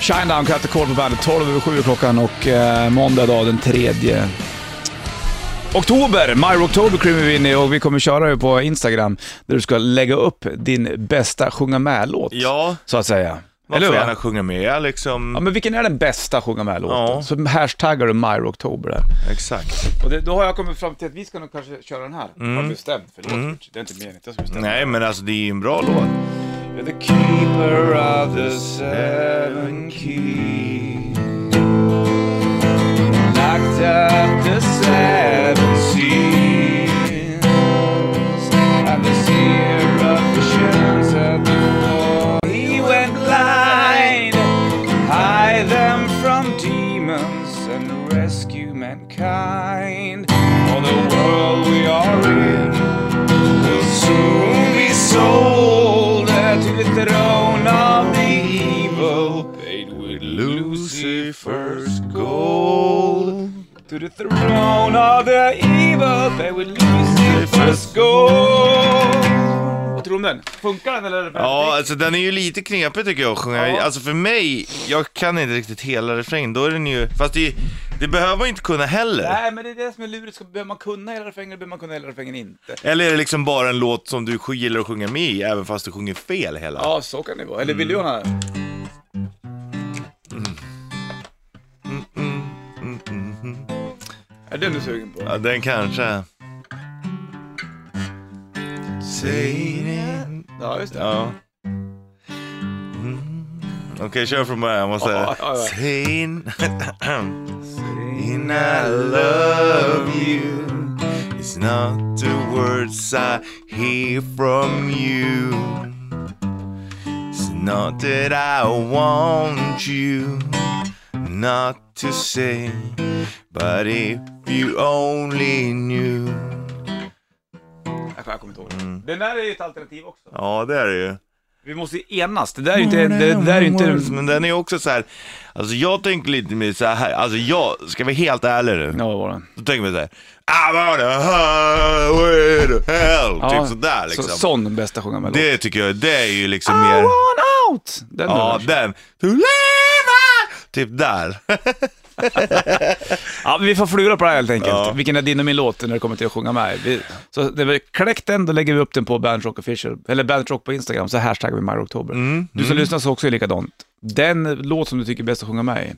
Shinedown, Cut Call på bandet. 12 över 7 klockan och eh, måndag idag den 3 oktober. My October kryper vi in i och vi kommer köra det på Instagram där du ska lägga upp din bästa sjunga med-låt. Ja, Så att säga. man Eller får hur? gärna va? sjunga med liksom. Ja, men vilken är den bästa sjunga med-låten? Ja. Så hashtaggar du My October där. Exakt. Och det, då har jag kommit fram till att vi ska nog kanske köra den här. Mm. Har du bestämt? Förlåt Richard, det är inte meningen att jag ska bestämma. Nej, men alltså det är ju en bra låt. You're the keeper of the seven keys. Locked up the seven seas. I'm the seer of visions of the war. He went blind. Hide them from demons and rescue mankind. For the world we are in will soon be sold to the throne of the evil. Paid with Lucifer's gold. To the throne of the evil. Paid with Lucifer's gold. Vad tror du om den? Funkar den eller? Ja, alltså den är ju lite knepig tycker jag att sjunga. Ja. Alltså för mig, jag kan inte riktigt hela refrängen. Då är den ju, fast det, det behöver man inte kunna heller. Nej, men det är det som är lurigt. Ska- Behöver man kunna hela refrängen eller behöver man kunna hela refrängen inte? Eller är det liksom bara en låt som du gillar att sjunga med i, även fast du sjunger fel hela? Ja, så kan det vara. Eller vill du göra den? Mm, mm, mm. Är det den du är sugen på? Ja, den kanske. Säg det. Ja, just det. Ja. Mm. Okej, kör från början. Jag måste... Ja, ja, ja. Saying, saying I love you It's not the words I hear from you It's not that I want you Not to say But if you only knew Jag kommer inte ihåg den. Den där är ju ett alternativ också. Ja, det är det ju. Vi måste ju enas. Det där är ju inte... Det, det där är ju inte... Men den är också så här. Alltså jag tänker lite mer så här. Alltså jag, ska vi vara helt ärlig nu? Ja, det var den. Då tänker man så här. "Ah, I wanna highway to hell. Ja, typ sådär liksom. Så, Ah, sån bästa sjunga med Det tycker jag, det är ju liksom I mer. want out! Den Ja, ja, den. To live on. Typ där. ja, vi får flura på det här helt enkelt. Ja. Vilken är din och min låt när det kommer till att sjunga med? Vi, så när vi kläckt den, då lägger vi upp den på Bandrock Official, eller Bandrock på Instagram, så hashtaggar vi My October. Mm. Du som lyssnar så också är likadant. Den låt som du tycker är bäst att sjunga med i,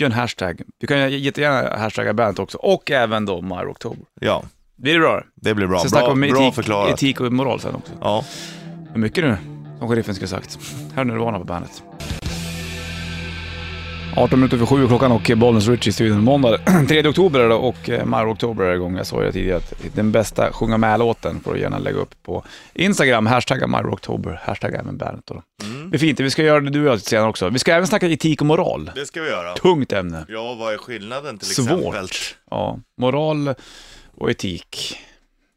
gör en hashtag. Du kan jättegärna hashtagga bandet också, och även då My October. Ja, Blir det bra? det blir bra. Så bra snackar vi om bra etik, förklarat. etik och moral sen också. Ja. Hur mycket nu, som sheriffen skulle sagt. Här är Nirvana på bandet. 18 minuter för sju är klockan och eh, Bollnäs Richie i studion. Måndag 3 oktober är det och eh, Mauro Oktober är igång. Jag sa ju tidigare att den bästa sjunga med-låten får du gärna lägga upp på Instagram. Hashtagga Mauro Oktober, hashtagga även bandet då. Mm, Det är fint, vi ska göra det du och jag lite senare också. Vi ska även snacka etik och moral. Det ska vi göra. Tungt ämne. Ja, vad är skillnaden till exempel? Svårt. Ja, moral och etik.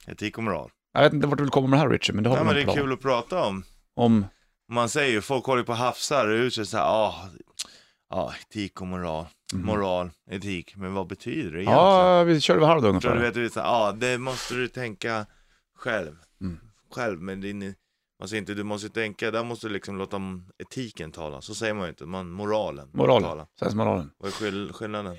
Etik och moral. Jag vet inte vart du vill komma med det här Richie, men det har Ja, vi men det någon är plan kul att prata om. om. Man säger ju, folk håller på och hafsar ut sig såhär, ah, ah, etik och moral. Moral, etik, men vad betyder det egentligen? Mm. Ja, vi körde väl halv Jag tror du ungefär. vet, du vet, såhär, ah, det måste du tänka själv. Själv, men din, man säger inte du måste tänka, där måste du liksom låta m- etiken tala. Så säger man ju inte, man moralen. Moralen, Tala. sensmoralen. Vad är skill- skillnaden?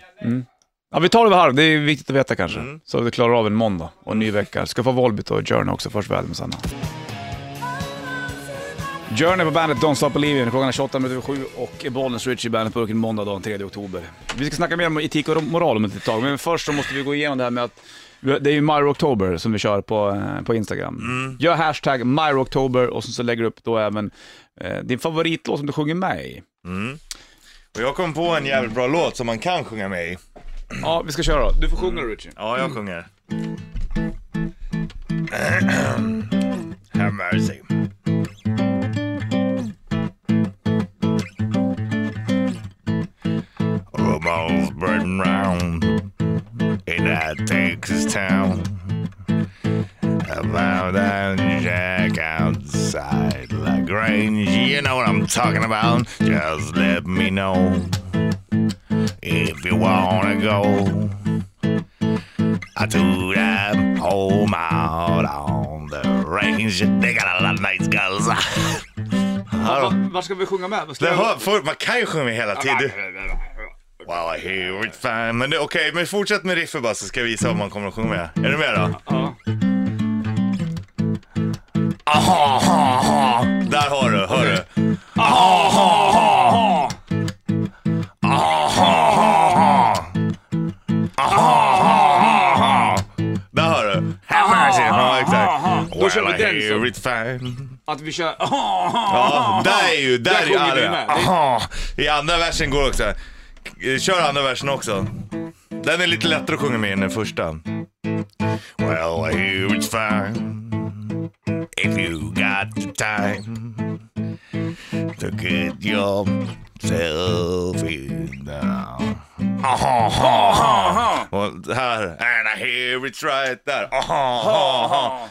Ja, vi tar det vid halv. Det är viktigt att veta kanske. Mm. Så vi klarar av en måndag och en ny vecka. Ska få Volbit och Journey också. Först väl med Sanna. Journey på bandet Don't Stop Believin'. Klockan är 28 minuter över sju och Bollnäs Ritchie i Bandetburken måndag den 3 oktober. Vi ska snacka mer om etik och moral om ett litet tag, men först så måste vi gå igenom det här med att det är ju Myro October som vi kör på, eh, på Instagram. Mm. Gör hashtag Myro October och så, så lägger du upp då även eh, din favoritlåt som du sjunger med i. Och jag kom på en jävligt bra låt som man kan sjunga med i. Ja, vi ska köra då. Du får sjunga Ritchie. Ja, jag sjunger. Have mercy. Almost burning round in that Texas town. I found that jack outside Lagrange. You know what I'm talking about. Just let me know if you wanna go. I do them home out on the range. They got a lot of nice girls. Här då. Var, var ska vi sjunga med? Ska Det jag- hör, för, man kan ju sjunga hela tiden. Wow, I hear it fan. Men det- okej, men fortsätt med riffet bara så ska jag visa vad man kommer att sjunga med. Är du med då? Ja. Aha, aha, aha. Där har du, hör du. Där hör du. Ja, exakt. Då kör vi Well, I den hear sen. it fine. Att vi kör... Ja, där är ju, där, Där är ju sjunger vi alla. med. Aha. I andra versen går också. Kör andra versen också. Den är lite lättare att sjunga med än den första. Well, I hear it's fine if you got the time to get yourself in down. Aha, aha, aha. Och här, and I hear it's right där. Aha, aha, aha.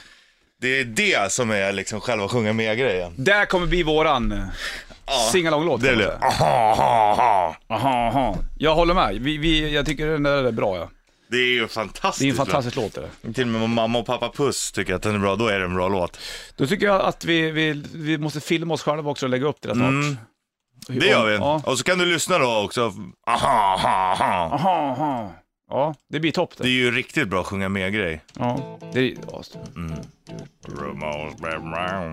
Det är det som är liksom själva sjunga med-grejen. Där kommer bli våran eh, singalong-låt. Det är det. Aha, aha, aha. Aha, aha. Jag håller med. Vi, vi, jag tycker den där är bra. Ja. Det är ju fantastiskt. Det är en fantastisk låt. Det. där. bra. Till och med om mamma och pappa Puss tycker att den är bra, då är det en bra låt. Då tycker jag att vi, vi, vi måste filma oss själva också och lägga upp det där snart. Mm. Det gör vi. Ja. Och så kan du lyssna då också. Aha, aha, aha. Aha, aha. Ja, det blir topp Det är det. ju riktigt bra att sjunga med-grej. Ja, det är, ja, st-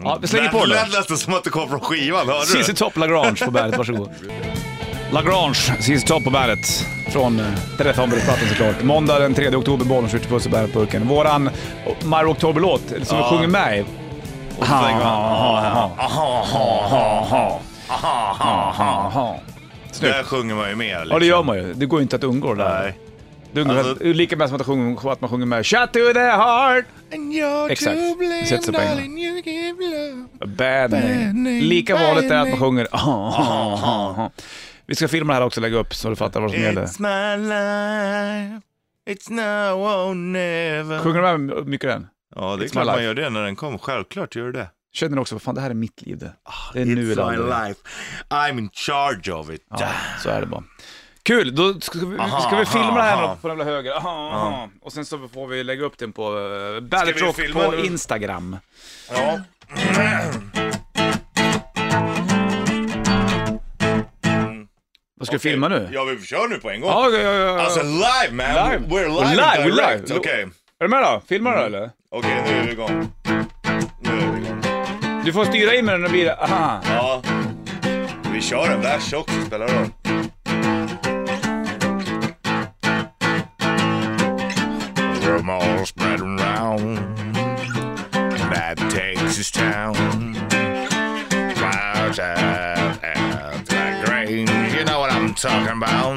Ja, vi slänger på det. den. lät nästan som att det kom från skivan, hörde CC du? Top Lagrange på bandet, varsågod. Lagrange, CC Top på bandet. Från eh, Telefonbrevsplattan såklart. Måndag den 3 oktober, Bollnäs skjuter puss i bandet-burken. Våran eh, My October-låt eh, som vi sjunger med i. Där sjunger man ju med. Liksom. Ja, det gör man ju. Det går ju inte att undgå det där. Nej. Det är ungefär- Alltså- det är lika bra som att sjunga- att man sjunger med Shut to the heart. Exakt. Sätter sig på en gång. Bad name. Lika vanligt är att man sjunger Vi ska filma det här också och lägga upp så du fattar vad som gäller. It's my life, it's now or never. Sjunger du med mycket den? Ja, det är It's klart my man life. gör det när den kom. Självklart gör du det. Känner du också, vad fan det här är mitt liv det. Det är nu eller Ah, It's my aldrig. life. I'm in charge of it. Ja, så är det bara. Kul, då ska vi, Aha, ska vi filma det här aha. på den jävla höger. Aha, aha. Och sen så får vi lägga upp den på uh, vi Bandit Rock filma på nu? Instagram. Ja. Vad ska vi filma nu? Ja, vi kör nu på en gång. Ja, ja, ja, ja. Alltså live man! Live. We're live, We're live, and we're live. direct. Okej, Är du med då? Filmar du eller? okej nu är vi igång. Nu är vi igång. Du får styra in med den och blir det. Aha. Ja. Vi kör en vers också, spelar det roll? Rumor spread around That Texas town Clouds out at the grange You know what I'm talking about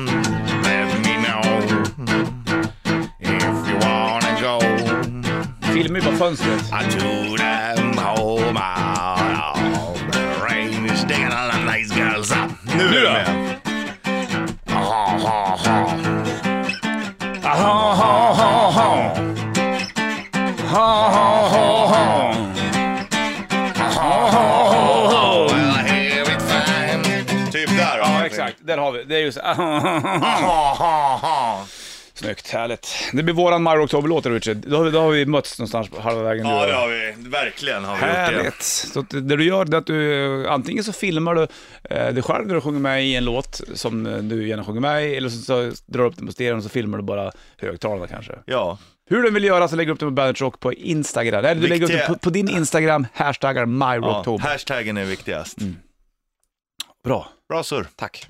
Let me know If you wanna go Filma ju bara fönstret. I told them home out of the rain is digging all the nice girls up. Nu är då? det med. Aha, aha, aha. Aha, aha, aha, aha. Aha, aha, aha. Aha, aha, aha. Well, I hear it fine. Typ där då. Ja, exakt. Där har vi. Det är ju så. Aha, aha, aha. Snyggt, härligt. Det blir våran Mario October-låt Richard. Då har, vi, då har vi mötts någonstans på halva vägen. du och Ja, jag. det har vi. Verkligen har vi gjort det. Härligt! Så att det du gör det är att du eh, antingen så filmar du eh, dig själv när du sjunger med i en låt som eh, du gärna sjunger med i, eller så, så drar du upp den på stereon och så filmar du bara högtalarna kanske. Ja. Hur du vill göra så lägger du upp den på Bandage Rock på Instagram. Nej, du lägger upp Viktiga- den på, på din Instagram, hashtaggar ja. myrocktober. Hashtaggen är viktigast. Mm. Bra, Bra surr. tack.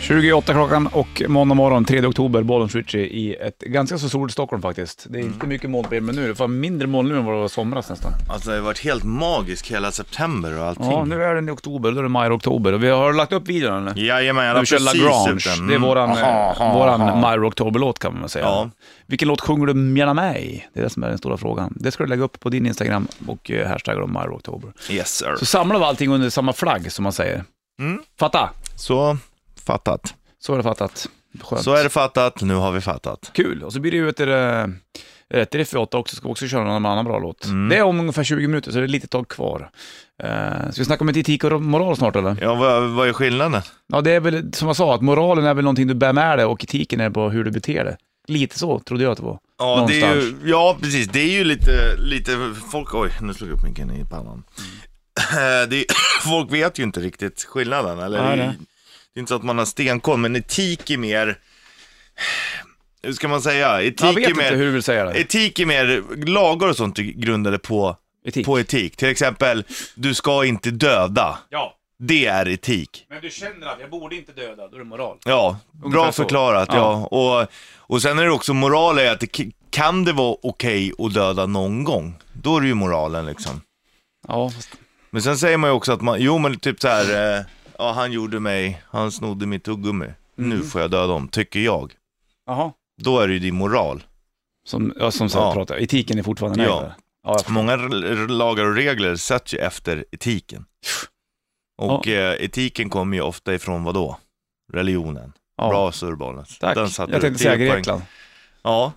28 klockan och måndag morgon 3 oktober, Bollens Ritchie i ett ganska så soligt Stockholm faktiskt. Det är Mm. inte mycket moln men nu är det fan mindre moln nu än vad det var i somras nästan. Alltså det har varit helt magisk hela september och allting. Ja, nu är den i oktober, då är det maj och oktober. Och vi har lagt upp videon eller? Jajamän, jag Vi kör Lagrange, Mm. det är våran, Aha, aha, eh, våran aha. Maj October-låt kan man väl säga. Ja. Vilken låt sjunger du gärna med i? Det är det som är den stora frågan. Det ska du lägga upp på din Instagram och eh, hashtagga om Maj October. Yes sir. Mm. Så samlar vi allting under samma flagg som man säger. Fatta! Så fattat. Så är det fattat. Skönt. Så är det fattat, nu har vi fattat. Kul! Och så blir det ju ett eh, Rätt riff i åtta också, ska också köra någon annan bra låt. Mm. Det är om ungefär 20 minuter, så det är lite tag kvar. Eh, ska vi snacka om etik och moral snart eller? Ja, vad, vad är skillnaden? Ja, det är väl som jag sa, att moralen är väl någonting du bär med dig och etiken är på hur du beter dig. Lite så trodde jag att det var. Ja, det är Någonstans. ju, ja precis, det är ju lite, lite folk, oj nu slog jag upp micken i pannan. eh, det, är- folk vet ju inte riktigt skillnaden. Eller? Nej, det, är- nej. det är inte så att man har stenkoll, men etik är mer... Hur ska man säga? Etik Jag vet är mer... inte hur du vill säga det. Etik är mer lagar och sånt är grundade på Etik. på etik. Till exempel, du ska inte döda. Ja, Det är etik. men du känner att jag borde inte döda, då är det moral. Ja, bra så. förklarat. Ja. Och, och sen är det också moral är att det, k- kan det vara okej att döda någon gång? Då är det ju moralen liksom. Ja, fast... Men sen säger man ju också att man, jo men typ så här, eh, ja han gjorde mig, han snodde mitt tuggummi. Nu Mm. får jag döda dem, tycker jag. Jaha. Då är det ju din moral. Som, ja, som sagt, Ja. pratar. etiken är fortfarande nej Ja. där. Ja, jag- Många r- r- lagar och regler sätts ju efter etiken. Och eh, etiken kommer ju ofta ifrån vad då? Religionen. ja. Bra surrbalans. Tack. Den satte jag du. tänkte säga Tio poäng. Grekland. Ja.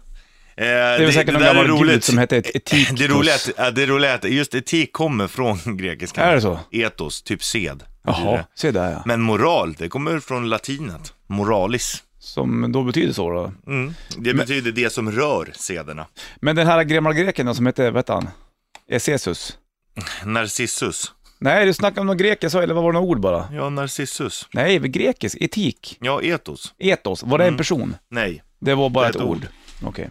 Eh, Det är väl säkert någon där är gammal gud roligt. Eh, som hette et- etik. Det är roliga är att- ja, det är roliga är att just etik kommer från grekiskan. Är det så? Etos, typ sed. Jaha, se där ja. Men moral, det kommer från latinet. Moralis. Som då betyder så då. Mm. Det betyder det som rör sederna. Men den här gamla greken då, som hette, vad hette han? Esesus? Narcissus. Nej, du snackade om någon grek jag sa, eller vad var det några ord bara? Ja, narcissus. Nej, men grekisk, etik, Ja, etos. etos, var det en person? Nej. Det var bara Mm. Det är ett, ett ord. ord. Okej.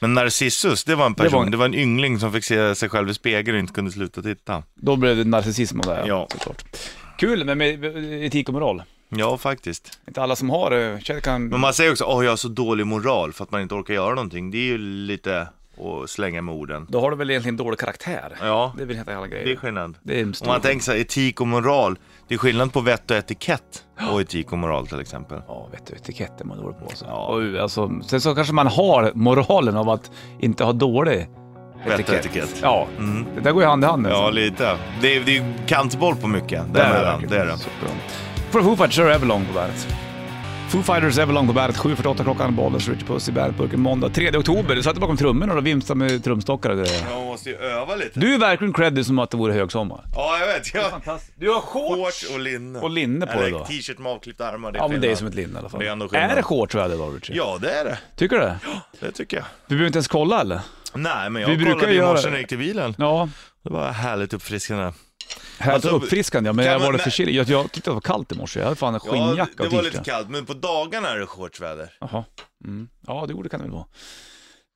Men Narcissus, det var en var person, det var en- en, yngling som fick se sig själv i spegeln och inte kunde sluta titta. Då blev det narcissism av det här, ja. Ja. såklart. Kul men med etik och moral. Ja, faktiskt. Inte alla som har det känner- kan... Men man säger också, åh jag har så dålig moral för att man inte orkar göra någonting. Det är ju lite att slänga med orden. Då har du väl egentligen dålig karaktär. Ja, Det är väl helt alla grejer. det är skillnad. Det är en Om stor man tänker så här, etik och moral, det är skillnad på vett och etikett och etik och moral till exempel. Ja, vet du, etiketten man dålig på alltså. Ja. Och, alltså. Sen så kanske man har moralen av att inte ha dålig Bättre etikett. Mm. Ja, det där går ju hand i hand. alltså. Ja, lite. Det är, det är ju kantboll på mycket Där däremellan. Det är det. Superbra. Från Foo Fighters så är det Everlong på bandet. Foo Fighters Everlong på bandet, 7.48 klockan, Bollnäs, Richard Puss i bandburken måndag 3 oktober. Du satt bakom trummorna och vimsade med trumstockar och det. Man måste ju öva lite. Du är verkligen creddig som att det vore högsommar. Ja, jag vet. Jag... Fantastiskt. Du har Shorts och linne. Och linne på dig Eller då. t-shirt med avklippta armar. Ja men det är skillnad. som ett linne i alla fall. Det är ändå skillnad. är det shorts tror jag det var Richard? Ja, det är det. Tycker du det? Det tycker jag. Vi behöver inte ens kolla eller? Nej, men Vi jag brukar kollade i göra- morse när jag gick till bilen. Ja. Det var härligt uppfriskande. Här Alltså, uppfriskande ja, men kan jag man- var lite förkyld. Jag, jag tyckte det var kallt i morse. Jag hade fan en Ja, skinnjacka det och var lite t-shirt. kallt, men på dagarna är det shortsväder. Jaha. Mm. Ja, det gjorde kan det väl vara.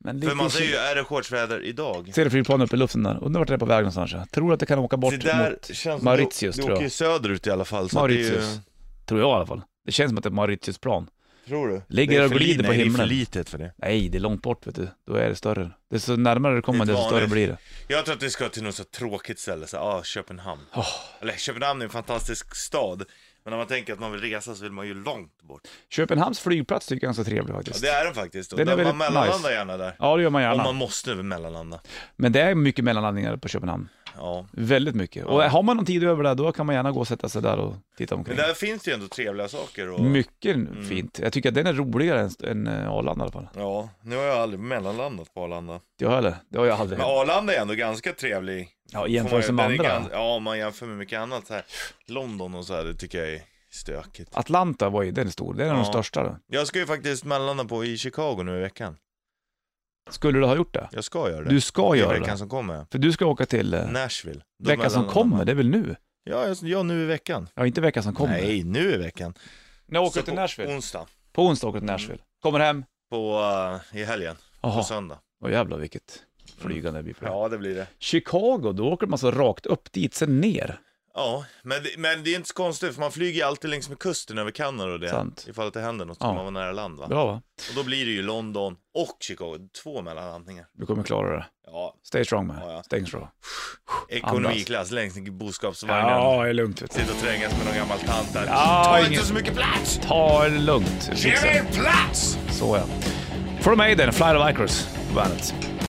Men lite För man säger ju, är det shortsväder idag? Ser du flygplanet uppe i luften där? Undrar vart det är på väg någonstans. Jag tror att det kan åka bort Det där mot känns Mauritius du, du tror jag. åker ju söderut i alla fall. Så att Det är Mauritius. ju, Tror jag i alla fall. Det känns som att det är Mauritiusplan. tror du? Ligger Det är och för li- glider på nej, det är himlen. för litet för det. Nej, det är långt bort vet du. Då är det större. Desto närmare du kommer Det är desto större vanligt. blir det. Jag tror att vi ska till något så tråkigt ställe, så ah, Köpenhamn. Åh. Eller Köpenhamn är en fantastisk stad, men när man tänker att man vill resa så vill man ju långt bort. Köpenhamns flygplats tycker jag är ganska trevlig Ja, faktiskt. det är den faktiskt, och Den är där man väldigt mellanlandar nice. gärna där. Ja, det gör man Om gärna. man måste mellanlanda. Men det är mycket mellanlandningar på Köpenhamn. Ja. Väldigt mycket. Och har man någon tid över där, då kan man gärna gå och sätta sig där och titta Men omkring. där Mm. finns det ju ändå trevliga saker. Och... Mycket fint. Jag tycker att den är roligare än, än eh, Arlanda i alla fall. Ja, nu har jag aldrig mellanlandat på Arlanda. Det har jag eller? Det har jag aldrig. Men Arlanda är ändå ganska trevlig. Ja, i Får jämförelse man- med den är andra. gans- Ja, om man jämför med mycket annat. Så här. London och så här, det tycker jag är stökigt. Atlanta var ju, den är stor. Den är den Ja. största. Då. Jag ska ju faktiskt mellanlanda på i Chicago nu i veckan. Skulle du ha gjort det? Jag ska göra det. Du ska I göra veckan det. som kommer. För du ska åka till eh, Nashville. Då veckan som mellanlandar kommer, man. det är väl nu? Ja, jag- ja, nu i veckan. Ja, inte veckan som kommer. Nej, nu i veckan. När åker Så du Mm. till på Nashville? Onsdag. På onsdag åker du till Nashville. Kommer hem? På, eh, i helgen. På Jaha, söndag. åh jävlar vilket flygande det blir på det. Ja, det blir det. Chicago, då åker man så rakt upp dit, sen ner. Ja, men det, men det är inte så konstigt för man flyger ju alltid längs med kusten över Kanada och det. Sant. Ifall att det händer något så Ja. ska man vara nära land va. Bra va? Och då blir det ju London och Chicago, två mellanlandningar. Du kommer klara det. Ja, Stay strong man. Ja, ja. Stay strong. ekonomiklass längst i boskapsvagnen. Ja, det är lugnt vet du. Sitta och trängas med någon gammal tant där. Ja, Ta ingen- inte så mycket plats! Ta det lugnt. Ge Fixa. mig plats! Så ja. From Aiden, Flight of Icarus på bandet.